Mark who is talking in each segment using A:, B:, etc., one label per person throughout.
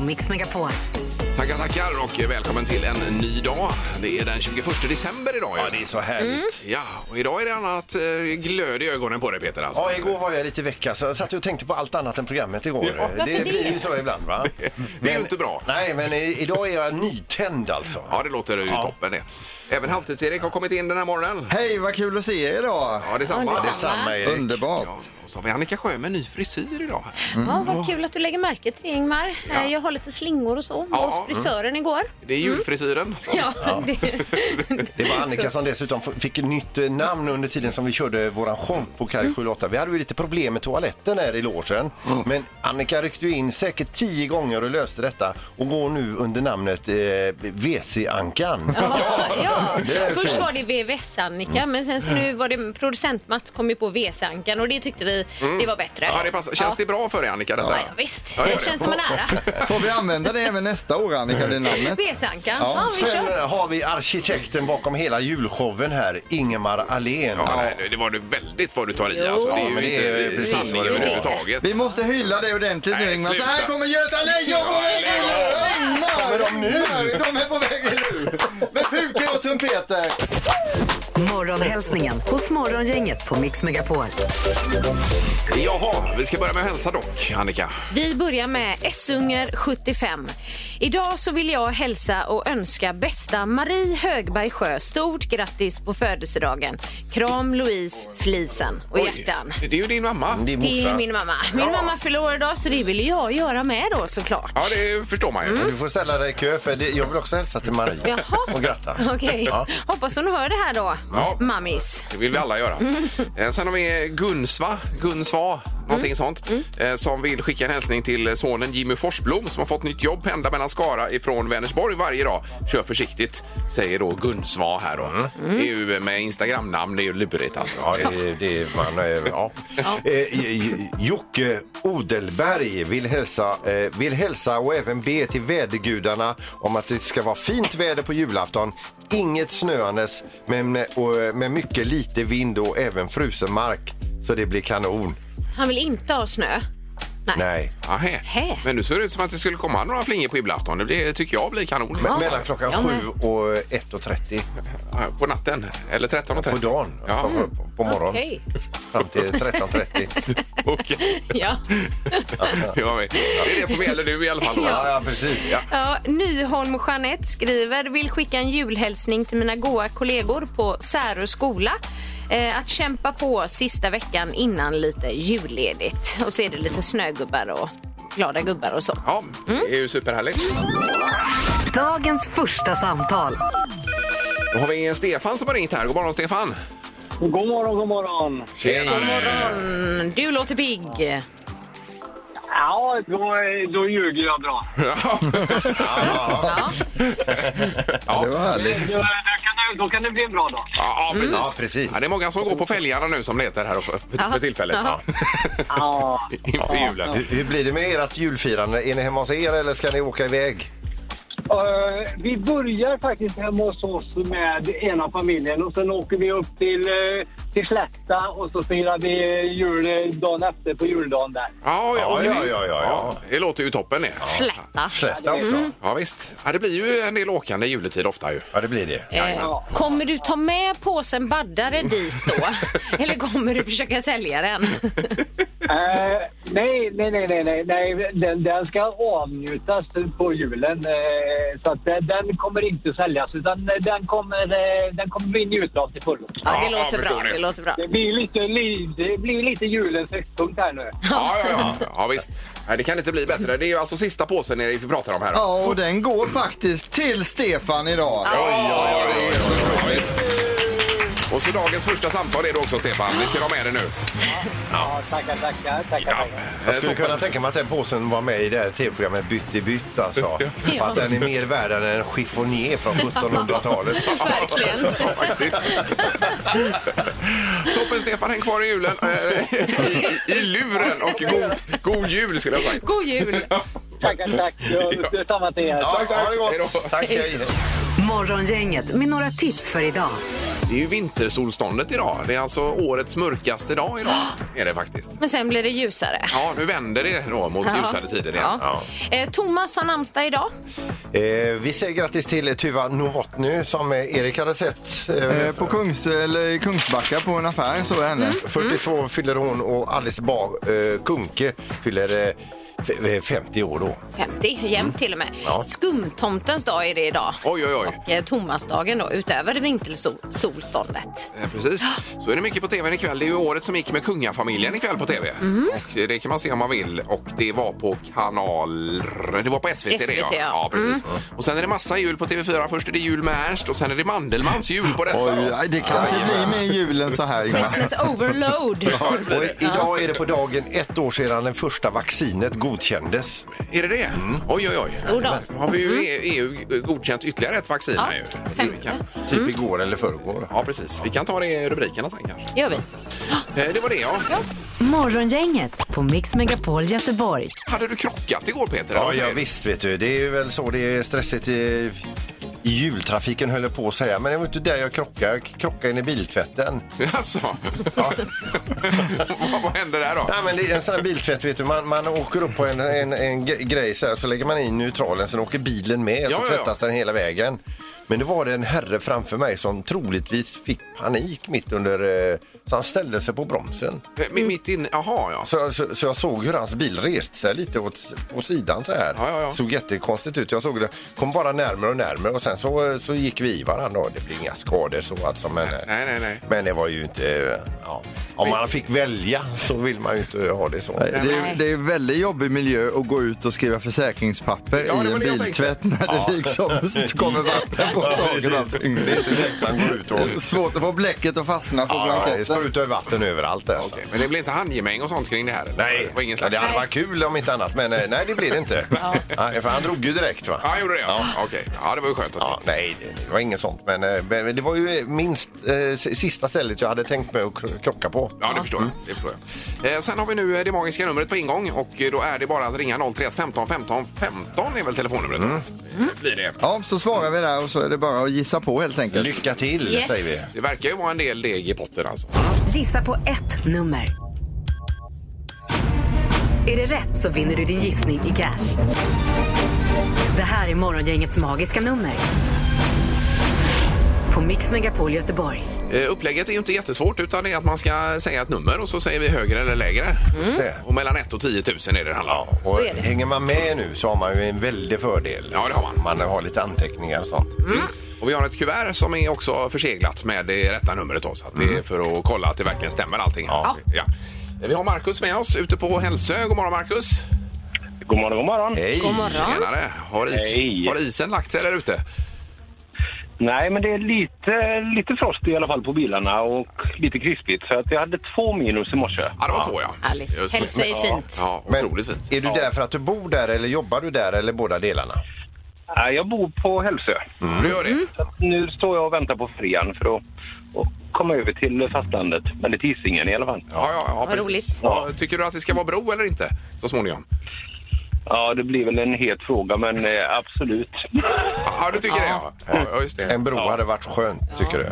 A: Mix Megapol.
B: Tackar, tackar och välkommen till en ny dag. Det är den 21 december idag.
C: Ja, det är så härligt.
D: Mm.
B: Ja, och idag är det annat eh, glöd i ögonen på dig Peter. Alltså.
C: Ja, igår var jag lite vecka så jag satt och tänkte på allt annat än programmet igår.
B: Ja.
C: det,
D: Varför
C: blir
D: det?
C: ju så ibland va? Det,
B: det är ju inte bra.
C: Nej, men i, idag är jag nytänd alltså.
B: Ja, det låter ju
C: Ja.
B: toppen det. Även Halvtids-Erik har kommit in den här morgonen.
E: Hej, vad kul att se er idag!
B: Ja, detsamma.
D: Ja, detsamma.
C: Detsamma Erik.
B: Ja,
E: Underbart!
B: och så har vi Annika Sjö med ny frisyr idag.
D: Ja, vad kul att du lägger märke till det, Ingmar. Eh, Jag har lite slingor och så
B: Ja.
D: hos frisören igår.
B: Det är julfrisyren.
D: Mm. Ja, det,
C: Det var Annika som dessutom f- fick ett nytt eh, namn under tiden som vi körde våran show på
D: Mm.
C: Kaj 78. Vi hade ju lite problem med toaletten här i logen. Men Annika ryckte ju in säkert tio gånger och löste detta och går nu under namnet eh, WC-ankan.
D: ja, ja.
C: Det är
D: Först
C: fint.
D: var det VVS-Annika, men sen så nu var det producent Mats kom ju på VS-Ankan och det tyckte vi det var bättre.
B: Ja, det passar. Känns det bra för dig Annika? Detta?
D: Ja, ja, visst.
B: Ja, gör
D: det känns som en ära.
E: Får vi använda det även nästa år, Annika, det namnet?
D: VS-Ankan. Ja,
E: Ja,
D: vi
C: Sen
D: kör.
C: har vi arkitekten bakom hela julshowen här, Ingemar Ahlén.
B: Ja, nej, det var du väldigt vad du tar i
D: Jo.
B: alltså. Det är
D: Ja,
B: ju
C: men det är
B: inte
C: precis vad
B: sanningen
C: det var.
B: överhuvudtaget.
E: Vi måste hylla det ordentligt nu,
B: Nej,
E: Ingmar. Så
B: sluta.
E: här kommer Göta Lejon på väg in!
C: Kommer de nu?
E: De är på väg in nu! Med pukor och trumpeter!
A: Morgonhälsningen hos Morgongänget på Mix Megapol.
B: Jaha, vi ska börja med att hälsa dock, Annika.
D: Vi börjar med Essunger 75. Idag så vill jag hälsa och önska bästa Marie Högberg Sjö stort grattis på födelsedagen. Kram Louise, flisen och hjärtan.
B: Det är ju din mamma.
C: Det är
D: Det är
C: morsan.
D: min mamma. Min mamma förlorar idag så det vill jag göra med då såklart.
B: Ja, det förstår man ju.
D: Mm.
C: Du får ställa dig i kö för det, jag vill också hälsa till Marie
D: Jaha.
C: och gratta.
D: Okej,
C: Ja.
D: hoppas hon hör det här då,
B: Ja.
D: mammis.
B: Det vill vi alla göra. Eh, Sen har vi Gunsva, Gunsva
D: Mm.
B: någonting sånt, eh, som vill skicka en hälsning till sonen Jimmy Forsblom som har fått nytt jobb, pendlar mellan Skara ifrån Vänersborg varje dag. Kör försiktigt, säger då Gunsva här då. Det är ju med Instagramnamn, det är ju lurigt alltså.
C: Mm. Ja, det, det man, eh, ja. Eh, J- J- Jocke Odelberg vill hälsa, eh, vill hälsa och även be till vädergudarna om att det ska vara fint väder på julafton. Inget snöandes, men eh, och, eh, med mycket lite vind och även frusen mark. Så det blir kanon.
D: Han vill inte ha snö. Nej.
C: Nej.
B: Ahä.
D: Hä.
B: Men nu ser det ut som att det skulle komma några flingor på julafton. Det blir- tycker jag blir kanon.
C: Me- Mellan klockan
D: Ja, men-
C: 7 och 1.30
B: Ja, På natten, eller 13.30.
C: på dagen.
B: Ja.
C: Alltså, på, på morgonen.
D: Okej.
C: Fram till 13.30.
B: Okej.
D: Ja.
B: Det var mig. Det är det som gäller nu i alla fall. då, alltså.
C: ja, ja, precis. Ja.
D: Ja, Nyholm Jeanette skriver vill skicka en julhälsning till mina goa kollegor på Särö skola. Eh, att kämpa på sista veckan innan lite julledigt. Och så är det lite snögubbar och glada gubbar och så.
B: Ja, det är ju superhärligt.
A: Dagens första samtal.
B: Då har vi en Stefan som har ringt här. God morgon Stefan!
F: God morgon, god morgon.
B: Tjena!
D: God morgon! Du låter pigg.
F: Ja, då, då ljuger jag bra.
D: Ja.
E: Det var härligt.
F: Då, kan det, då kan det bli en bra dag.
B: Ja, precis.
C: Ja, precis.
B: Ja, det är många som går på fälgarna nu som letar här för, för, för tillfället.
D: Ja.
F: Ja.
B: Inför julen.
C: Hur, hur blir det med ert julfirande? Är ni hemma hos er eller ska ni åka iväg?
F: Eh, vi börjar faktiskt hemma hos oss med ena familjen och sen åker vi upp till, eh, till Slätta och så firar vi jul eh, dagen efter på juldagen där.
B: Ja,
C: Ja,
B: ja,
C: ja, ja, ja, ja.
B: Det låter ju toppen det.
D: Slätta.
C: Slätta också?
B: Ja, visst. Ja, det blir ju en del åkande i juletid ofta ju.
C: Ja, det blir det.
D: Eh, kommer du ta med påsen baddare dit då? Eller kommer du försöka sälja den?
F: Eh, nej, nej, nej, nej, nej, nej. Den, den ska avnjutas på julen. eh, så att den, den kommer inte säljas utan den kommer, eh, den kommer vi njuta av till fullo.
D: Ja, det
B: Ja,
D: låter
B: jag
D: bra.
B: förstår det.
D: Det låter bra.
F: Det blir lite, li- det blir lite julens höjdpunkt här nu.
B: Ja, ja, ja. ja visst. Ja, det kan inte bli bättre. Det är ju alltså sista påsen Erik, vi pratar om här.
E: Ja, och den går faktiskt till Stefan idag.
B: Ja, det är så bra, visst. Och så dagens första samtal är det också, Stefan. Vi ska ha med det nu.
F: Ja, tackar, tackar, tackar, tackar.
C: Jag skulle kunna tänka mig att den påsen var med i det här tv-programmet Bytt i bytt alltså.
D: Ja.
C: Att den är mer värd än en chiffonier från 1700-talet.
D: Verkligen.
B: Ja, faktiskt. Toppen Stefan, häng kvar i julen. eh, I, i, i luren och god, god jul skulle jag säga.
D: God jul!
F: Tackar, tack. Detsamma till er.
C: Ja, ha det
B: Hej då.
C: gott! Tack, hej.
A: Morgongänget med några tips för idag.
B: Det är ju vintersolståndet idag. Det är alltså årets mörkaste dag idag. Är det faktiskt.
D: Men sen blir det ljusare.
B: Ja, nu vänder det då mot ljusare tider igen.
D: Ja. Eh, Thomas har namnsdag idag.
C: Eh, vi säger grattis till Tuva Novotny som eh, Erik hade sett. Eh,
E: Eh, På Kungs, eller i Kungsbacka på en affär såg jag henne.
C: 42 fyller hon och Alice Bah eh, Kunke fyller eh, f- eh, 50 år då.
D: 50,
B: Mm.
D: jämnt till och med. Skumtomtens dag är det idag.
B: Oj, oj, oj.
D: Eh, Thomasdagen då, utöver vintersolståndet.
B: Eh, Precis. Så är det mycket på tvn ikväll. Det är ju året som gick med kungafamiljen ikväll på tv. Och eh, det kan man se om man vill. Och det var på kanal... Det var på SVT, det ja.
D: SVT, ja.
B: ja precis. Och sen är det massa jul på TV4. Först är det jul med Ernst och sen är det Mandelmans jul på detta.
E: Oj, aj, det kan inte bli mer jul än så här. Ingmar.
D: Christmas overload.
C: Och i, idag är det på dagen ett år sedan det första vaccinet godkändes.
B: Är det det?
C: Mm.
B: Oj, oj, oj.
D: Jo då.
B: har vi ju EU godkänt ytterligare ett vaccin
D: Ja,
B: här ju.
D: femte.
B: Vi kan-
C: Typ
E: Mm.
C: igår eller förrgår.
B: Ja, precis. Vi kan ta det i rubrikerna sen kanske.
D: gör vi.
B: Eh, Det var det ja.
A: Morgongänget på Mix Megapol Göteborg.
B: Hade du krockat igår Peter?
C: Ja,
B: Vad säger
C: ja
B: du?
C: visst vet du. Det är ju väl så det är stressigt i, i jultrafiken höll jag på att säga. Men det var inte där jag krockade. Jag krockade in i biltvätten.
B: Alltså. vad, vad hände där då?
C: Nej, men det är en sån här biltvätt, vet du. Man, man åker upp på en, en, en g- grej så här, så lägger man in neutralen, sen åker bilen med,
B: Ja,
C: så
B: ja, ja.
C: tvättas den hela vägen. Men det var det en herre framför mig som troligtvis fick panik mitt under... eh, Så han ställde sig på bromsen.
B: Eh, mi- Mitt inne? Jaha, ja.
C: Så, så, så jag såg hur hans bil reste sig lite åt, åt sidan så här.
B: Ja, ja, ja.
C: Såg jättekonstigt ut. Jag såg det. Kom bara närmare och närmare och sen så, så gick vi i varandra. och Det blev inga skador så alltså. Men,
B: Nej, nej, nej.
C: men det var ju inte... eh, Ja. Om man fick välja så vill man ju inte ha det så.
E: Nej, Det är, det är väldigt jobbig miljö att gå ut och skriva försäkringspapper
B: Ja, det
E: i
B: var
E: en
B: det jag
E: biltvätt när det liksom kommer vatten på taket. och allting.
C: Det är inte direkt man går ut och...
E: Svårt att få bläcket att fastna på
C: Ja, det
E: blanketten.
C: sprutar ju vatten överallt där. så.
B: Okej, Men det blir inte handgemäng och sånt kring det här? eller?
C: Nej,
B: Det var ingen
C: ja,
B: slags...
C: det hade varit kul om inte annat, men eh, nej det blir det inte. Nej, för han drog ju direkt va?
B: Ja, jag gjorde det ja. Okej. Ja, det var ju skönt. Att...
C: Ja, nej, det, det var inget sånt. Men eh, men det var ju minst eh, s- sista stället jag hade tänkt mig att kro- krocka på.
B: Ja, det förstår, jag.
C: Mm.
B: det förstår jag. Eh, sen har vi nu eh, det magiska numret på ingång och eh, då är det bara att ringa 031 15 15 15 är väl telefonnumret?
C: Mm.
B: Mm. Det Blir det.
E: Ja, så svarar vi där och så är det bara att gissa på helt enkelt.
C: Lycka till,
D: Yes.
C: säger vi.
B: Det verkar ju vara en del deg i potten alltså.
A: Gissa på ett nummer. Är det rätt så vinner du din gissning i cash. Det här är Morgongängets magiska nummer. På Mix Megapol Göteborg.
B: Eh, upplägget är ju inte jättesvårt utan det är att man ska säga ett nummer och så säger vi högre eller lägre.
C: Just det.
B: Och mellan 1 och 10 000 är det det handlar om.
C: Och
D: är det.
C: hänger man med nu så har man ju en väldig fördel.
B: Ja, det har man. Mm.
C: Man har lite anteckningar och sånt.
B: Och vi har ett kuvert som är också förseglat med det rätta numret då, så att det är för att kolla att det verkligen stämmer allting. här.
C: Ja.
B: Ja. Eh, Vi har Markus med oss ute på Hälsö. God morgon Markus!
G: God morgon, god morgon.
C: Hej!
D: God morgon.
B: Tjenare! Har, is,
G: Hej.
B: har isen lagt sig där ute?
G: Nej, men det är lite, lite frost i alla fall på bilarna och lite krispigt. Så att jag hade två minus i morse.
B: Ja, det var två ja.
D: Härligt.
B: Just det.
D: Hälsö är
B: Ja.
D: fint.
B: Ja,
C: Men
B: otroligt fint.
C: är du där för att du bor där eller jobbar du där eller båda delarna?
G: Nej, Jag bor på Hälsö.
B: Du Mm. gör det?
D: Mm.
G: Så att nu står jag och väntar på fredagen för att och komma över till fastlandet. Eller till Hisingen i alla fall.
B: Ja, ja, ja, precis.
D: roligt.
B: Ja, tycker du att det ska vara bro eller inte så småningom?
G: Ja, det blir väl en het fråga, men eh, absolut.
B: Ja, du tycker det ja. ja just det.
C: En bro hade varit skönt, tycker du?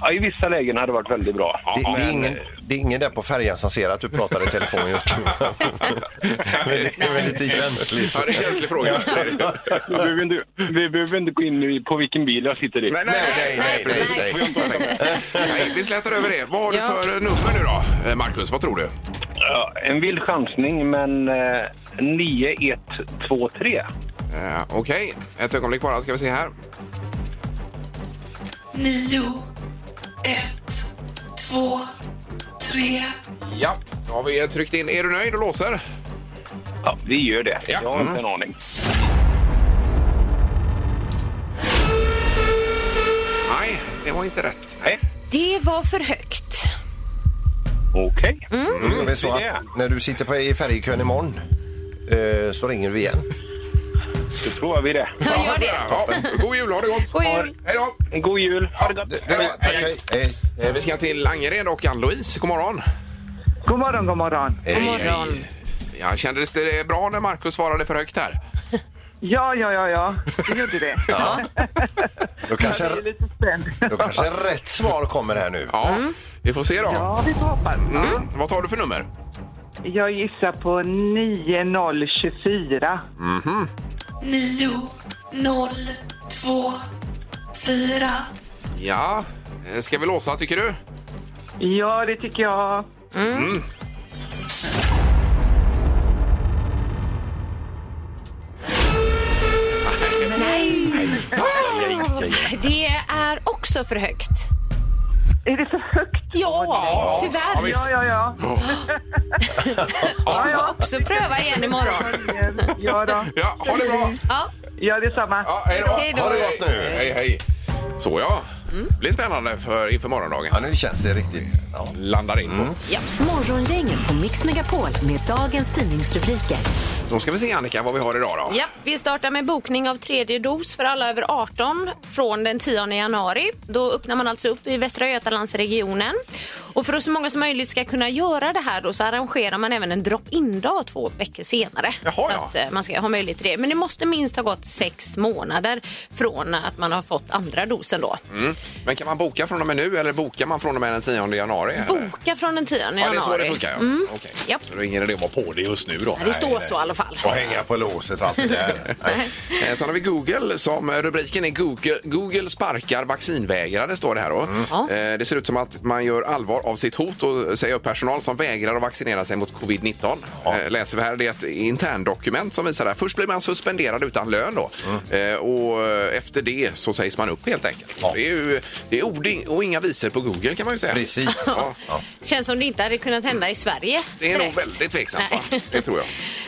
G: Ja, I vissa lägen hade det varit väldigt bra.
C: Det, det, är
G: Men,
C: ingen,
G: eh,
C: det är ingen där på färjan som ser att du pratar i telefon just nu. Men det är väl lite känsligt.
B: Ja, det är en känslig fråga.
G: Vi behöver, inte, vi behöver inte gå in i- på vilken bil jag sitter i.
B: Nej, nej, nej, nej,
D: nej,
B: precis.
D: nej.
B: nej. Vi slätar över det. Vad har du
D: Ja.
B: för nummer nu då, eh, Marcus? Vad tror du?
G: Ja, en vild chansning, men eh, 9123.
B: Eh, Okej, ett ögonblick bara ska vi se här.
H: nio, ett, två, tre.
B: Ja, då har vi tryckt in. Är du nöjd och låser?
G: Ja, vi gör det.
B: Ja.
G: Jag har inte en
C: Mm.
G: aning.
B: Nej, det var inte rätt.
G: Nej.
D: Det var för högt.
G: Okej.
C: Då gör vi så att när du sitter på, i färjkön imorgon eh, så ringer du igen.
G: Då provar vi det.
D: Jag gör det.
B: Ja, god jul, ha det gott!
D: God jul.
B: Hej då!
G: God jul. Ha det gott.
C: Ja, tack, hej, hej.
B: Eh, Vi ska till Angered och Ann-Louise. God morgon! Eh,
I: God morgon, god morgon.
D: God morgon.
B: Ja, kändes det bra när Marcus svarade för högt här?
I: Ja, ja, ja, ja. Det gjorde det.
C: Ja. Då
I: Jag är
C: kanske,
I: lite spänd.
C: då kanske rätt svar kommer här nu.
B: Ja, vi får se då.
I: Ja, vi får hoppas.
B: Mm. Vad tar du för nummer?
I: Jag gissar på 9024.
H: nio noll två fyra
B: Ja, eh, ska vi låsa tycker du?
I: Ja, det tycker jag.
D: Det är också för högt.
I: Är det för högt?
D: Ja,
B: Ja,
D: tyvärr.
B: visst.
I: Ja, ja, ja.
D: Jag får också pröva igen imorgon.
I: Ja, då.
B: Ja, ha det bra!
D: Ja,
I: ja detsamma.
B: Ja, hej då!
D: Hej då. Mm.
B: Ha det gott nu! Hej, hej! Så ja, det blir spännande för inför morgondagen.
C: Ja, nu känns det riktigt. Ja.
B: Landar in på.
D: ja.
A: Morgongänget på Mix Megapol med dagens tidningsrubriker.
B: Då ska vi se Annika vad vi har idag då.
D: Ja, vi startar med bokning av tredje dos för alla över 18 från den 10 januari. Då öppnar man alltså upp i Västra Götalandsregionen. Och för att så många som möjligt ska kunna göra det här då så arrangerar man även en drop-in-dag två veckor senare.
B: Jaha,
D: så
B: ja.
D: att eh, man ska ha möjlighet till det. Men det måste minst ha gått sex månader från att man har fått andra dosen då.
B: Mm. Men kan man boka från och med nu eller bokar man från och med den 10 januari? eller?
D: Boka från den 10 januari.
B: Mm.
D: Mm.
B: Ja, det är så det funkar ja. Okej.
D: Japp.
B: Så då är ingen idé att vara på det just nu då.
D: Ja, Det står så i alla fall.
C: Och hänga på låset och allt det där. Nej.
B: Eh, Sen har vi Google som eh, rubriken är Google, Google sparkar vaccinvägrare står det här då.
D: Ja.
B: Eh, Det ser ut som att man gör allvar av sitt hot och säger upp personal som vägrar att vaccinera sig mot covid-19. Eh, Läser vi här, det är ett interndokument som visar det här. Först blir man suspenderad utan lön då Eh, och eh, efter det så sägs man upp helt enkelt.
C: Ja.
B: Det är ju det är ord och inga visor på Google kan man ju säga.
C: Precis.
B: Ja.
D: Känns som det inte hade kunnat hända i Sverige.
B: Det är nog
D: direkt.
B: väldigt tveksamt
D: Nej.
B: va? Det tror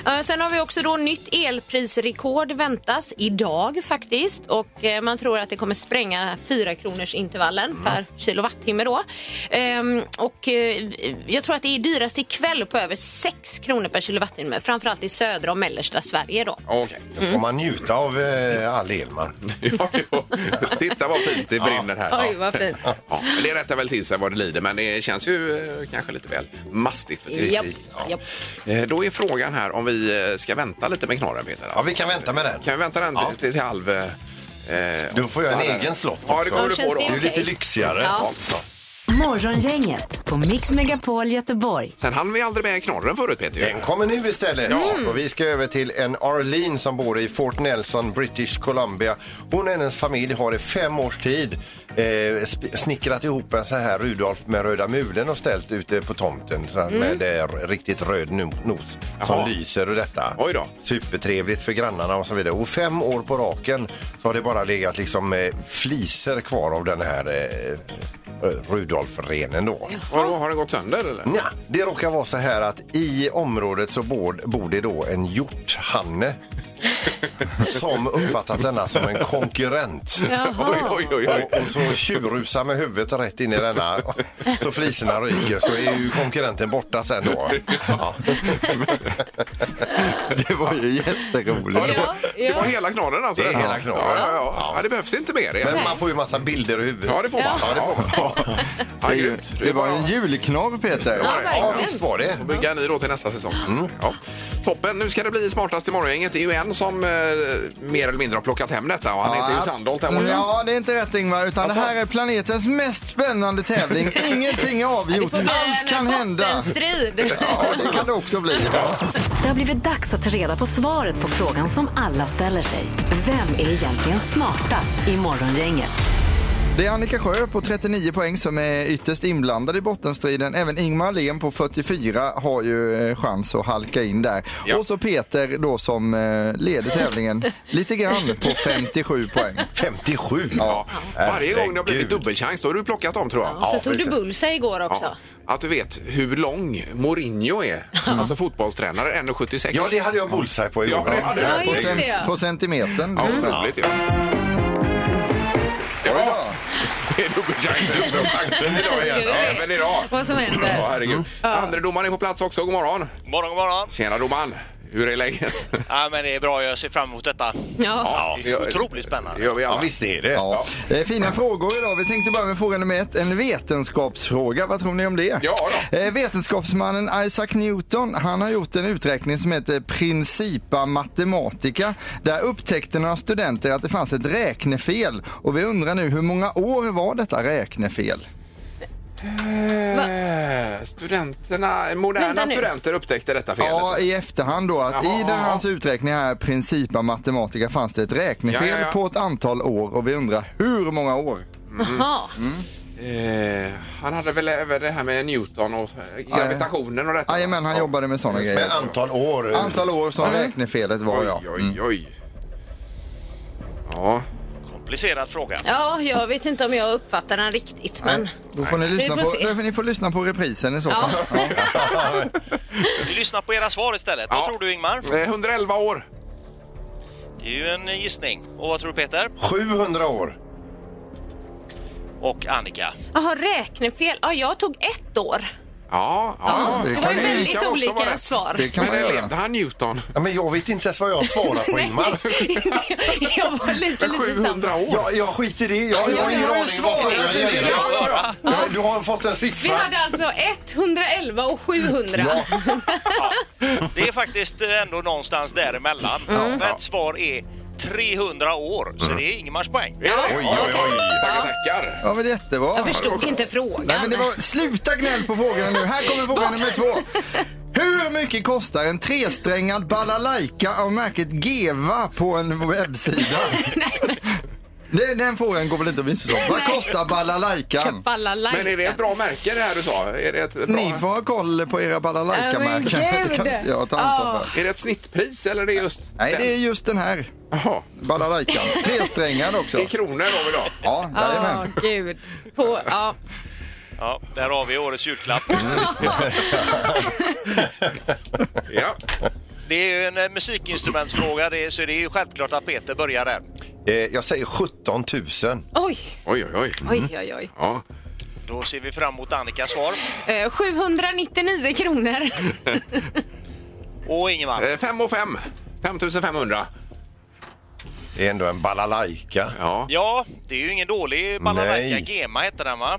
B: jag.
D: Eh, Sen har vi också då nytt elprisrekord väntas idag faktiskt och eh, man tror att det kommer spränga 4 kronors intervallen
E: Mm.
D: per kilowattimme då. Ehm, Och eh, jag tror att det är dyrast ikväll på över 6 kronor per kilowattimme, framförallt i södra och mellersta Sverige då.
B: Okej.
C: Då får man njuta av eh, all el man.
B: Ja, ja. Titta vad fint det brinner här.
D: Oj, vad fint.
B: Ja, men det rättar väl till sig vad det lider, men det känns ju eh, kanske lite väl mastigt. För tillfället.
D: Japp, japp.
B: Eh, Då är frågan här om vi eh, ska vänta lite med knorren, Peter.
C: Ja, vi kan vänta med den.
B: Kan vi vänta den
C: Ja.
B: till, till halv... eh, eh,
C: Då får jag en
B: åtta där?
C: egen slott
B: Ja, det
C: också.
B: kommer
D: Ja,
B: du få
D: känns
B: då.
D: det
C: Det är ju lite
D: Okej.
C: lyxigare.
D: Ja.
C: Ja.
A: Morgongänget på Mix Megapol Göteborg.
B: Sen hann vi aldrig med knorren förut, Peter. ju.
C: Den kommer nu istället. Mm. Och vi ska över till en Arlene som bor i Fort Nelson, British Columbia. Hon och hennes familj har i fem års tid eh, sp- snickrat ihop en sån här Rudolf med röda mulen och ställt ute på tomten så här, med eh, riktigt röd no- nos som
B: Mm. Jaha.
C: lyser och detta.
B: Oj då.
C: Supertrevligt för grannarna och så vidare. Och fem år på raken så har det bara legat liksom eh, fliser kvar av den här eh, Rudolf-renen då.
B: Vadå, har den gått sönder eller?
C: Ja, det råkar vara så här att i området så bor, bor det då en hjorthanne som uppfattat denna som en konkurrent.
B: Oj, oj, oj, oj.
C: Och, och så tjurrusar med huvudet rätt in i denna så fliserna ryker så är ju konkurrenten borta sen då. Ja.
E: Det var ju jätteroligt.
D: Ja,
B: Det var
D: ja.
B: hela knorren alltså?
C: Det är
B: detta?
C: hela knorren.
B: Ja, ja, ja. ja, det behövs inte mer. Det.
C: Men man får ju massa bilder i huvudet.
B: Ja, det får man. Ja, det får man. Ja, grymt.
E: Det var
B: bara-
E: en julknorr, Peter.
D: Ja,
C: Ja,
D: verkligen.
C: visst var det.
B: Och bygga en ny då till nästa säsong. Mm, Ja. Toppen, nu ska det bli smartast i morgongänget. Det är ju en som eh, mer eller mindre har plockat hem detta och han heter ju Sandholt här borta.
E: Ja, det är inte rätt Ingvar, utan det här är planetens mest spännande tävling. Ingenting är avgjort,
D: Det får bli
E: allt
D: en
E: kan hända.
D: bottenstrid.
E: Ja, det kan det också bli.
A: Det har blivit dags att ta reda på svaret på frågan som alla ställer sig. Vem är egentligen smartast i morgongänget?
E: Det är Annika Sjö på 39 poäng som är ytterst inblandad i bottenstriden. Även Ingmar Ahlén på 44 har ju eh, chans att halka in där.
B: Ja.
E: Och så Peter då som eh, leder tävlingen lite grann på 57 poäng.
C: 57.
B: Ja. Varje gång det har blivit
C: Herregud.
B: dubbelchans, då har du plockat dem tror jag.
D: Ja, så tog du bullseye igår också.
B: Att du vet hur lång Mourinho är, alltså fotbollstränare, 1,76.
C: Ja, det hade jag bullseye på igår.
B: Ja, det hade du.
D: Ja, just
E: Cent-
D: det. ja.
E: på centimetern.
B: Ja,
E: Mm.
B: otroligt ja. Ja, det är dubbelchans. Dubbelchansen idag igen. Ja, även idag.
D: Vad som
B: Ja,
D: händer.
B: herregud. Andredomaren är på plats också. God morgon.
J: Morgon, god morgon.
B: Tjena domaren. Hur är läget?
J: Ja, men det är bra. Jag ser fram emot detta.
D: Ja.
J: Det är otroligt spännande.
B: Det gör vi
C: Ja,
B: alla.
C: visst är det.
E: Ja. Eh, Fina frågor idag. Vi tänkte börja med fråga nummer ett, en vetenskapsfråga. Vad tror ni om det?
B: Ja då.
E: Eh, Vetenskapsmannen Isaac Newton, han har gjort en uträkning som heter Principa Mathematica. Där upptäckte några studenter att det fanns ett räknefel och vi undrar nu hur många år var detta räknefel?
B: Eh, Studenterna, moderna
D: Vänta nu.
B: studenter upptäckte detta felet.
E: Ja, i efterhand då att
B: Jaha,
E: i den
B: jaha.
E: hans uträkning här Principa Mathematica fanns det ett räknefel
B: Ja, ja, ja.
E: på ett antal år och vi undrar hur många år? mm.
D: Jaha.
B: Eh, han hade väl även det här med Newton och eh, gravitationen och detta? va?
E: Jajamän, han
B: Ja.
E: jobbade med sådana
C: Med
E: grejer.
C: antal år.
E: Antal år som
D: Mm.
E: räknefelet var ja.
B: Oj, oj, oj. Ja.
J: Komplicerad fråga.
D: Ja, jag vet inte om jag uppfattar den riktigt, men...
E: Nej, Då får ni lyssna,
D: Vi
E: på,
D: får se.
E: då får ni får lyssna på reprisen i så fall.
J: Vi lyssnar på era svar istället.
B: Ja.
J: Vad tror du Ingmar?
B: Eh, 111 år.
J: Det är ju en gissning. Och vad tror du Peter?
C: 700 år.
J: Och Annika?
D: Jaha, räknefel. Ja, jag tog ett år.
B: Ja, ja.
E: det
D: Det var
E: kan
D: ju
E: ju-
D: väldigt
B: kan också vara
D: olika
B: rätt.
D: svar.
E: Det kan man
B: Men
E: göra.
B: levde han Newton?
C: Ja, men jag vet inte ens vad jag svarar på Ingmar.
D: jag var lite, lite samma.
B: 700 år?
C: Jag, jag skiter i det. Jag, jag har ingen aning vad frågan gäller. Ja, Du har fått en
D: Vi
C: siffra.
D: hade alltså 111 och 700.
J: Ja. Det är faktiskt eh, ändå någonstans däremellan. Rätt svar är 300 år, så det är Ingemars poäng.
B: Ja. Oj, oj, oj. Tackar, tackar.
E: Ja, men jättebra.
D: Jag förstod inte frågan.
E: Nej, men det var, sluta gnäll på frågorna nu. Här kommer fråga nummer två. Hur mycket kostar en tresträngad balalaika av märket Geva på en webbsida? Den, den frågan går väl inte att missförstå. Vad
D: Nej.
E: kostar balalaikan?
D: Balalaika.
B: Men är det ett bra märke det här du sa? Är det ett, bra...
E: Ni får ha koll på era balalaika-märken.
D: Ja, men
E: Det kan
D: gud.
E: inte jag ta ansvar för.
B: är det ett snittpris eller är det just
E: Nej,
B: den?
E: det är just den här
B: Jaha.
E: balalaikan. Tresträngad också.
B: I kronor då vill jag.
E: Ja,
D: Ja,
E: jajamän.
D: gud. På, ja.
J: Ja, där har vi årets julklapp.
B: Ja.
J: Det är ju en eh, musikinstrumentsfråga, det, är- så det är ju självklart att Peter börjar där.
C: Eh, Jag säger 17 000.
D: Oj,
B: Oj, oj, oj.
D: oj, oj, oj.
B: Ja.
J: Då ser vi fram emot Annikas svar.
D: Eh, 799 kronor.
J: Och Ingemar?
B: Eh, fem och fem. 5500.
C: Det är ändå en balalaika.
B: Ja.
J: Ja, det är ju ingen dålig balalaika.
C: Nej.
J: Gema heter den va?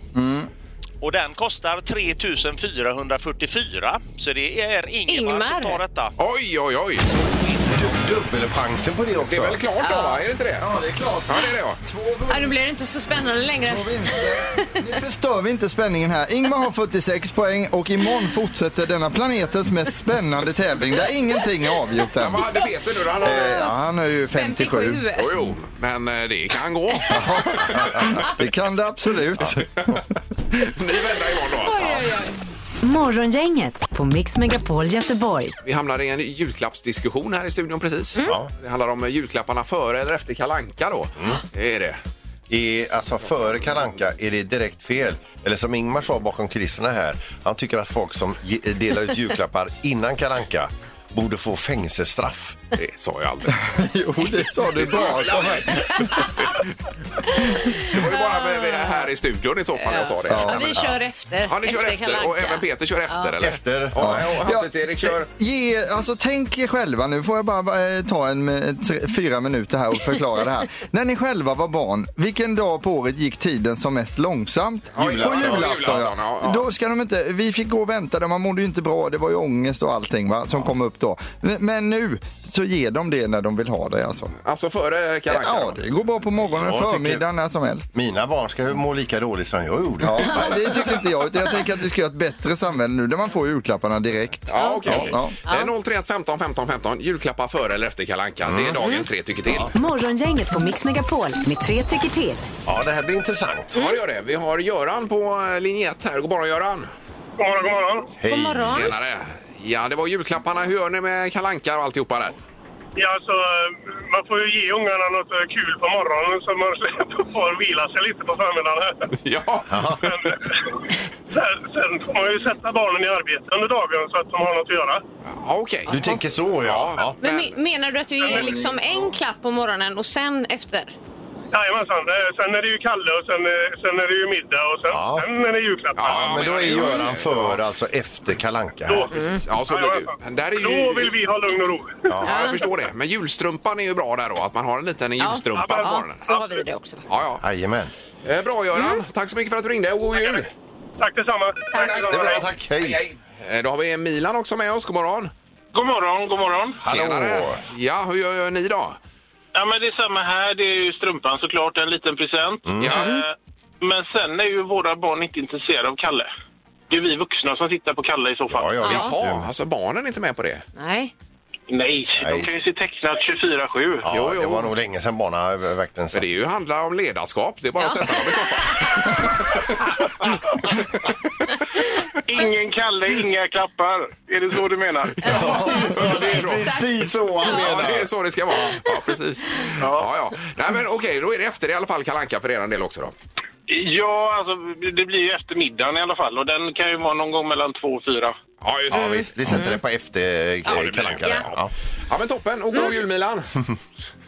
J: Och den kostar 3444, så det är Ingemar,
D: Ingemar.
J: som tar detta.
B: Oj, oj, oj.
C: Dubbelchansen på det också.
B: Det är väl klart då, va? Är det inte det?
E: Ja, det är klart.
B: Ja, det är det ja.
D: Ja, nu blir det inte så spännande längre.
E: Två vinster. Nu förstör vi inte spänningen här. Ingmar har 46 poäng och imorgon fortsätter denna planetens mest spännande tävling där ingenting är avgjort
B: Ja,
E: än.
B: Vad hade Peter nu då? Han
E: Eh,
B: hade...
E: Ja, han är ju 57.
B: Jo, jo, men eh, det kan gå.
E: Det kan det absolut.
B: Ny vända imorgon då.
D: Oj,
B: Alltså.
D: oj, oj.
A: Morgongänget på Mix Megapol Göteborg.
B: Vi hamnar i en julklappsdiskussion här i studion precis.
E: Mm.
B: Ja. Det handlar om eh, julklapparna före eller efter kalanka då.
E: Mm.
B: Det är det.
C: Är, alltså före Karanka är det direkt fel. Eller som Ingmar sa bakom kulisserna här. Han tycker att folk som ge- eh, delar ut julklappar innan Karanka borde få fängelsestraff.
B: Det sa jag aldrig.
E: Jo, det sa du bra.
B: Det var ju bara med- med här i studion i så fall jag sa det.
D: Ja, vi kör efter.
B: Ja, ni kör efter,
D: Kalle
B: och
D: Anka.
B: även Peter kör efter eller?
C: Efter.
B: Ja, ja, och Hampus-Erik kör.
E: Ge, alltså, tänk er själva, nu får jag bara eh, ta en, eh, tre, fyra minuter här och förklara det här. När ni själva var barn, vilken dag på året gick tiden som mest långsamt?
B: Ja, julafton.
E: På julafton,
B: Julafton, ja, ja.
E: ja. Då ska de inte, vi fick gå och vänta, där, man mådde ju inte bra, det var ju ångest och allting va, som kom upp då. Men- Men nu så ger de det när de vill ha det alltså.
B: Alltså före Kalle Anka
E: Ja,
B: då.
E: det går bra på morgonen,
C: Jag tycker-
E: förmiddagen, när som helst.
C: Mina barn ska ju må lika dåligt som jag gjorde.
E: Ja, nej, det tycker inte jag, utan jag tänker att vi ska göra ett bättre samhälle nu där man får julklapparna direkt.
B: Ja, okej.
E: Ja,
B: Okay. 031 15 15 15. Julklappar före eller efter Kalle Anka. Det är dagens tre tycker till. Ja.
A: Morgongänget på Mix Megapol med tre tycker till.
C: Ja, det här blir intressant.
B: det gör det. Vi har Göran på eh, linje 1 här. God morgon Göran!
G: God morgon, god morgon.
D: God morgon.
B: Tjenare! Ja, det var julklapparna. Hur gör ni med Kalle Anka och alltihopa där?
G: Ja, alltså, man får ju ge ungarna något eh, kul på morgonen så man får vila sig lite på förmiddagen.
B: Ja,
G: Men, sen, sen får man ju sätta barnen i arbete under dagen så att de har något att göra.
B: Ja, okej.
C: Du tänker så, ja.
B: Ja,
D: Men me- menar du att du ger liksom en klapp på morgonen och sen efter?
K: Jajamensan. Eh, Sen är det ju Kalle och sen, eh, sen är det ju middag och sen, sen är det julklappar.
C: Ja, men då är Göran för alltså efter Kalanka.
K: Då-
B: Ja, så blir det ju. Men där är ju...
K: Då vill vi ha lugn och ro.
B: Ja, jag förstår det. Men julstrumpan är ju bra där då, att man har en liten julstrumpa på
D: ja,
B: morgonen.
D: så har vi det också.
B: Ja, ja.
C: Jajamän.
B: Eh, Bra Göran, tack så mycket för att du ringde och god jul!
K: Tack detsamma. Tack.
C: Det är bra, tack. Hej.
B: Eh, Då har vi Milan också med oss, god morgon!
K: God morgon, god morgon.
B: Tjenare. Ja, hur gör gör ni då?
K: Ja, men det är samma här. Det är ju strumpan såklart, en liten present.
B: Mm.
K: Eh, Men sen är ju våra barn inte intresserade av Kalle. Det är vi vuxna som tittar på Kalle i så fall.
C: Ja, ja, visst.
B: Jaha, alltså barnen är inte med på det?
D: Nej.
K: Nej,
C: Nej.
K: de kan ju se tecknat 24-7.
C: Ja,
B: Jo, jo.
C: Det var nog länge sedan barna väckte en
B: För det är ju handlar om ledarskap, det är bara att sätta dem i soffan.
K: Ingen Kalle, inga klappar. Är det så du menar?
B: det är så.
C: Precis så han
B: Ja,
C: menar.
B: det är så det ska vara. Ja, precis. Ja, ja. Nej, men okej, då är det efter i alla fall Kalle Anka för er del också då.
K: Ja, alltså det blir ju eftermiddagen i alla fall och den kan ju vara någon gång mellan två och fyra.
B: Ja, just
C: Ja, visst. Vi sätter det på efter eh,
B: det blir det.
C: Kalanka. där. Ja.
B: Ja, men toppen. Och god jul, Milan.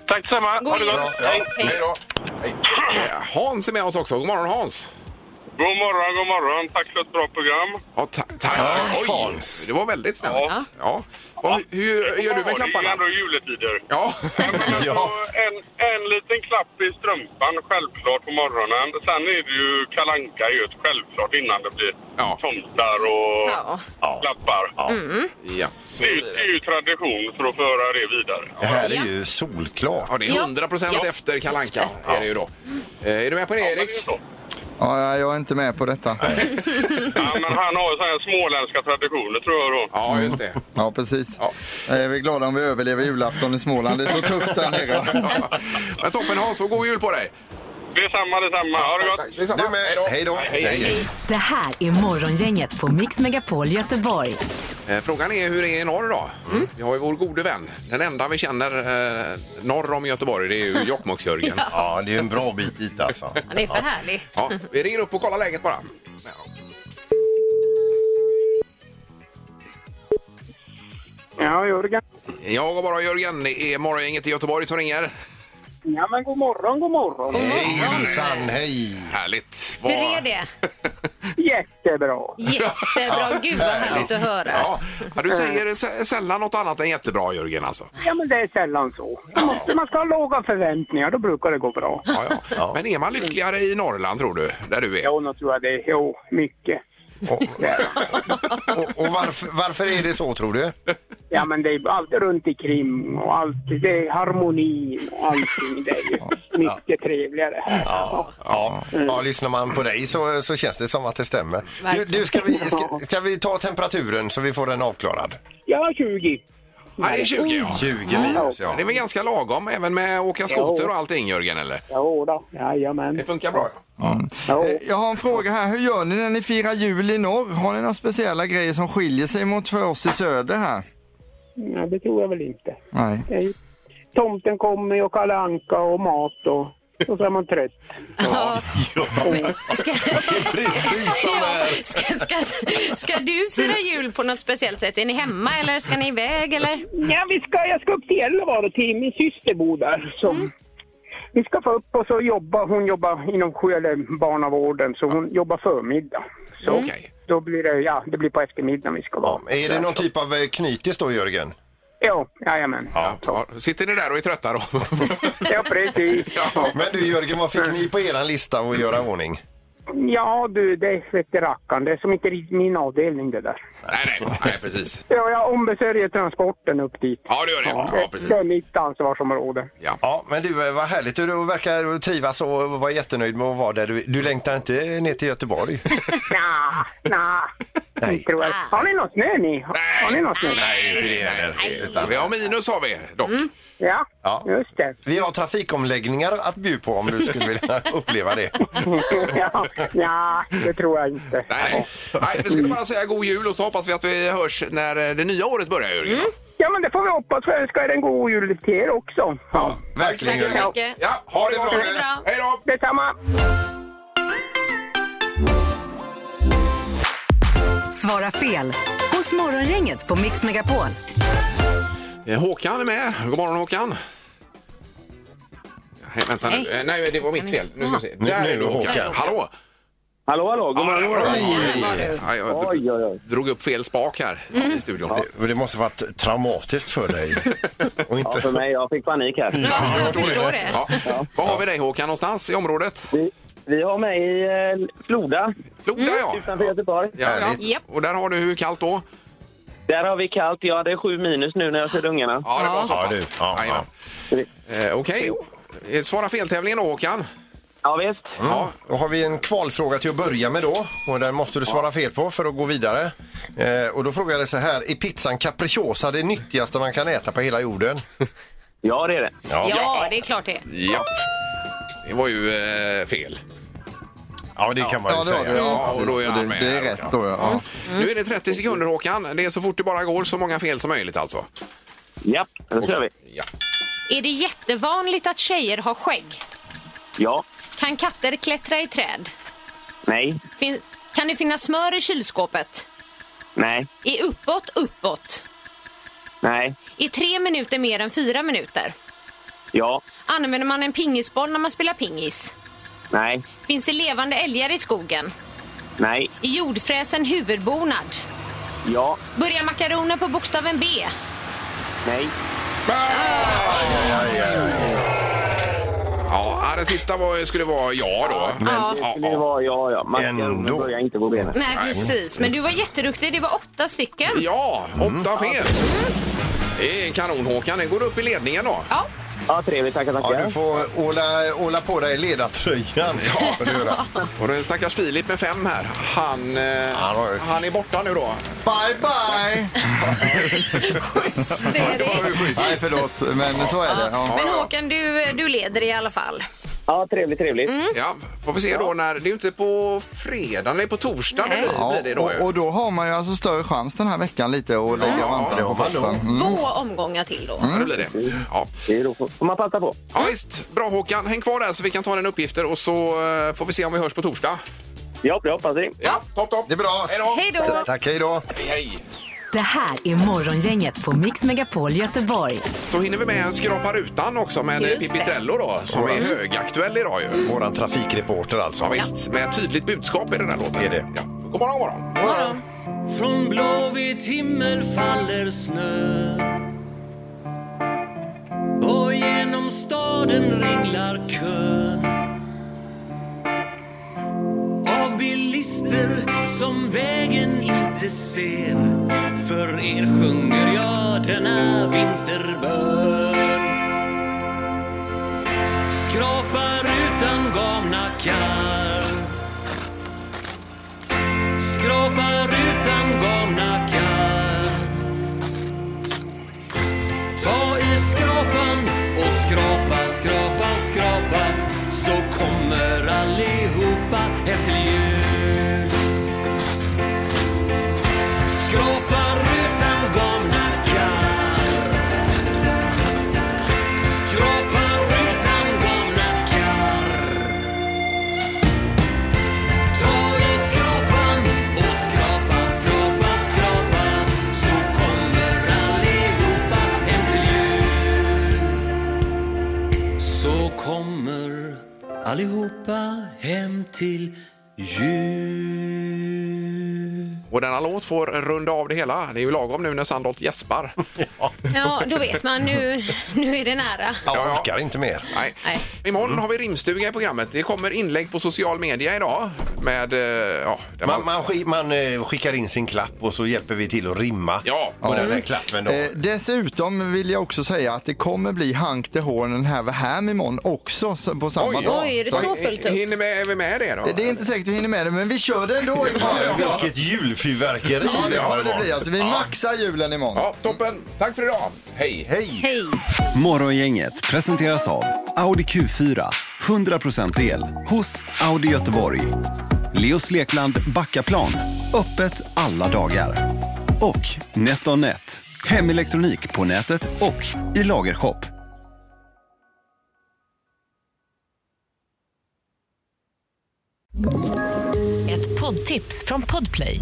K: Tack samma.
D: God jul.
K: Hej.
D: Hej.
B: då. Eh, Hans är med oss också. God morgon, Hans.
K: God morgon, god morgon. Tack för ett bra program.
B: Ja, ta- tack. Oj, Hans. Det var väldigt snällt. Ja. Vad- Hur gör du med
K: Det är
B: klapparna?
K: ändå juletider.
B: Ja.
C: Ja.
K: En, en liten klapp i strumpan självklart på morgonen. Sen är det ju kalanka just självklart innan det blir
B: Ja.
K: tomtar och
D: Ja.
K: klappar.
B: ja. Så-
K: Det, är ju, det är ju tradition för att föra det vidare.
C: Det här är ju solklart.
B: Ja, det är 100 procent efter Kalle Anka är det ju då. Eh, Är du med på det,
K: Men
B: Erik?
K: det är ju så.
E: Ja, ja, jag är inte med på detta.
K: Ja, men han har ju såna här småländska traditioner tror jag då.
B: Ja, just det.
E: Ja, precis.
B: Ja.
E: Eh, Vi är glada om vi överlever julafton i Småland. Det är så tufft där nere.
B: Men toppen, Hans. Och god jul på dig!
K: Detsamma, detsamma. Ha det gott!
B: Detsamma.
C: Du med. Hej då. Hej.
A: Det här är Morgongänget på Mix Megapol Göteborg.
B: Eh, Frågan är hur det är i norr då? Vi har ju vår gode vän. Den enda vi känner eh, norr om Göteborg, det är ju Jokkmokks-Jörgen. ja.
C: Ja, det är ju en bra bit dit alltså.
D: Han är för härlig.
B: vi ringer upp och kollar läget bara.
I: Ja, Jörgen.
B: Ja, god morgon Jörgen. Det är Morgongänget i Göteborg som ringer.
I: Ja, men god morgon, god morgon.
J: Mm.
C: Hejsan, hej.
B: Härligt.
D: Hur
B: Vad-
D: är det?
I: Jättebra.
D: Jättebra. Gud vad härligt att höra.
B: Ja, ja, du säger sä- sällan något annat än jättebra Jörgen alltså.
I: Ja, men det är sällan så. Man måste- Man ska ha låga förväntningar, då brukar det gå bra.
B: Ja, ja. Men är man lyckligare i Norrland tror du? Där du är?
I: Jo, nu tror jag det. Jo, mycket.
C: Och, och, och varför, varför är det så tror du?
I: Ja,
C: Mm.
I: men det är allt runt i krim och allt. Det är harmoni och allting. Det är ju mycket trevligare.
C: Ja, ja. ja lyssnar man på dig så, så känns det som att det stämmer. Du,
D: Verkligen.
C: du ska, vi, ska, ska vi ta temperaturen så vi får den avklarad?
I: Ja, 20.
B: Ja, det är 20 ja.
C: 20 minus, ja.
B: Det är väl ganska lagom även med att åka skoter och allting Jörgen eller?
I: Jo då, jajamän.
B: Det funkar bra ja.
I: Jo.
E: Eh, Jag har en fråga här. Hur gör ni när ni firar jul i norr? Har ni några speciella grejer som skiljer sig mot för oss i söder här?
I: Ja, det tror jag väl inte.
E: Nej.
I: Det är ju- Tomten kommer och Kalle Anka och mat och, och så är man trött.
D: Ja. Ska,
C: Precis som
D: ja,
C: här.
D: ska, ska, ska du fira jul på något speciellt sätt? Är ni hemma eller ska ni iväg? Eller?
I: Ja, vi ska, jag ska upp till Gällivare till min syster bor där. Så
C: Mm.
I: Vi ska få upp och så jobba. Hon jobbar inom sju- eller barnavården så hon jobbar förmiddag. Så
B: Okej.
I: då blir det, ja, det blir på eftermiddagen vi ska vara.
C: Ja, Är det någon typ av eh, knytis då Jörgen?
I: Ja, jajamän.
B: Ja, ja. Sitter ni där och är trötta då?
I: Ja, precis. Ja.
C: Men du Jörgen, vad fick ni på eran lista att göra i ordning?
I: Ja du, det vete rackarn. Det är som inte riktigt min avdelning det där.
B: nej, nej, nej, precis.
I: Ja, jag ombesörjer transporten upp dit.
B: Ja, det gör det. Ja,
I: det,
B: precis.
I: det är mitt ansvarsområde.
C: Ja, men du, eh, vad härligt. Du verkar trivas och vara jättenöjd med att vara där. Du, du längtar inte ner till Göteborg?
I: Nja, nja.
C: Nej.
I: Tror jag. Har ni någon snö ni? Har, har ni någon snö?
B: Nej, inte det heller. Utan Vi har minus har vi dock.
D: Mm.
I: Ja,
C: Ja.
I: just det.
C: Vi har trafikomläggningar att bjuda på om du skulle vilja uppleva det.
I: ja, ja, det tror jag inte.
B: Nej, nej. nej, vi skulle bara säga god jul och så hoppas vi att vi hörs när eh, det nya året börjar Jörgen. va?
I: Ja, men det får vi hoppas. Jag önskar er en god jul till er också. Ja.
C: Verkligen
D: Tack
C: Jörgen.
D: så mycket.
B: Ja, ha det bra!
D: det bra.
B: Hej då!
I: Detsamma!
A: Svara fel hos Morgongänget på Mix Megapol.
B: Eh, Håkan är med. God morgon Håkan. Nej, vänta nu. Eh, Nej, det var mitt fel. Nu ska vi se.
C: Nu-
B: Där
C: nu
B: är du Håkan.
C: Håkan.
B: Hallå!
G: Hallå, hallå, god morgon, god morgon.
B: Ja, jag drog upp fel spak här i studion.
C: Ja, men det måste ha varit traumatiskt för dig. Och inte...
G: Ja, för mig, jag fick panik här.
B: Ja, jag förstår det. Ja. Var har vi dig Håkan någonstans i området?
G: Vi, vi har mig i eh, Floda.
B: Floda, ja.
G: Utanför Göteborg.
B: Ja, ja. Och där har du hur kallt då?
G: Där har vi kallt. Ja, det är sju minus nu när jag körde ungarna.
B: Ja, det var så pass.
C: du. Ja, ja.
B: Eh, Okej. Eh, Svara feltävlingen då Håkan.
G: Ja, visst.
B: Ja.
C: Då har vi en kvalfråga till att börja med då. Och den måste du svara fel på för att gå vidare. Eh, och då frågar jag dig så här. Är pizzan capricciosa det nyttigaste man kan äta på hela jorden?
G: Ja, det är det.
D: Ja, det är klart det.
B: Ja. Det var ju eh, fel.
C: Ja, det kan man ju
E: Ja, det var
C: säga.
E: det.
B: Ja,
E: Ja,
B: och
E: precis.
B: då är han
E: det,
B: med
E: det är
B: här, Mm.
E: rätt
B: Håkan.
E: då, ja. ja.
B: Nu är det 30 sekunder Håkan. Det är så fort det bara går, så många fel som möjligt alltså.
G: Ja, då kör vi.
B: Ja.
D: Är det jättevanligt att tjejer har skägg?
G: Ja.
D: Kan katter klättra i träd?
G: Nej.
D: Fin- kan det finnas smör i kylskåpet?
G: Nej.
D: Är uppåt uppåt?
G: Nej.
D: Är tre minuter mer än fyra minuter?
G: Ja.
D: Använder man en pingisboll när man spelar pingis?
G: Nej.
D: Finns det levande älgar i skogen?
G: Nej.
D: Är jordfräsen huvudbonad?
G: Ja.
D: Börjar makaroner på bokstaven B?
G: Nej.
B: Ja, den sista var, skulle vara ja då.
D: Ja.
B: Ja,
G: Det
B: ja.
G: var ja, ja. Makaronen
C: Ändå.
G: börjar inte på benen.
D: Nej, precis. Men du var jätteduktig. Det var åtta stycken.
B: ja
D: Mm.
B: åtta fel. Det är kanon Håkan. Det går upp i ledningen då.
D: Ja.
G: Ja, trevligt. Tackar,
C: Ja,
G: tackar.
C: du får åla, åla på dig ledartröjan. Ja, får du göra.
B: Och den stackars Filip med fem här. Han, eh,
C: Han har ju-
B: han är borta nu då.
E: Bye, bye!
D: Schysst är det.
E: Nej, förlåt, men så är det. Ja.
D: Men Håkan, du, du leder i alla fall.
G: Ja, trevligt, trevligt.
B: Ja, får vi se då när... Det är ju inte på fredag, det är på torsdag det blir,
E: Ja,
B: blir det då. ju.
E: och, och då har man ju alltså större chans den här veckan lite att lägga
B: Ja, det
E: vantarna
B: har
E: på
B: man nog.
E: mattan. Mm.
D: Två omgångar till då.
B: Ja, det blir det. Ja.
G: Det är då får man passa på.
B: ja, visst. Bra Håkan, häng kvar där så vi kan ta den uppgifter och så eh, får vi se om vi hörs på torsdag.
G: Ja, det hoppas vi.
B: Ja, topp, topp.
C: Det är bra.
B: Hej då.
D: Hej då!
C: Tack, hej då.
B: Hej, hej.
A: Det här är Morgongänget på Mix Megapol Göteborg.
B: Då hinner vi med Skrapa rutan också med eh,
D: Just
B: Pippi
D: det.
B: Strello då, som är högaktuell idag ju.
C: Våran trafikreporter alltså.
B: Ja, visst, med ett tydligt budskap i den här låten.
C: Det är det.
B: Ja. God morgon, god morgon.
H: Från blåvit himmel faller snö och genom staden ringlar kön av bilister som vägen inte ser. För er sjunger jag denna vinterbön. Skrapar utan gamnackar skrapar utan gamnackar. Ta i skrapan och skrapa, skrapa, skrapa så kommer allihopa hem till jul. Skrapar utan gamnackar. Skrapar utan gamnackar. Ta i skrapan och skrapa, skrapa, skrapa så kommer allihopa hem till jul. Så kommer allihopa hem till jul.
B: Och denna låt får runda av det hela. Det är ju lagom nu när Sandholt gäspar.
D: Ja, då vet man. Nu, nu är det nära.
C: Jag orkar inte mer.
B: Nej.
D: Nej.
B: Imorgon har vi rimstuga i programmet. Det kommer inlägg på social media idag. Med, eh, ja, där
C: Man, man, skick- man eh, skickar in sin klapp och så hjälper vi till att rimma
B: Ja.
C: på den här klappen. Då.
E: Eh, dessutom vill jag också säga att det kommer bli Hank the Horn Have a Ham imorgon också så- på samma dag.
D: Oj, är det så fullt upp?
B: Hinner med, är vi med det då?
E: Det, det är inte säkert vi hinner med det, men vi kör det ändå imorgon.
C: Vilket julfyrverkeri
E: Ja,
C: vi
E: det
C: har
E: kommer det bli.
C: imorgon.
E: Alltså, vi maxar julen imorgon.
B: Ja, toppen. Tack för idag. Hej.
C: Hej!
D: Hej!
L: Morgongänget presenteras av Audi Q4. 100% el hos Audi Göteborg. Leos Lekland Backaplan. Öppet alla dagar. Och NetOnNet. Hemelektronik på nätet och i lagershop.
M: Ett poddtips från Podplay.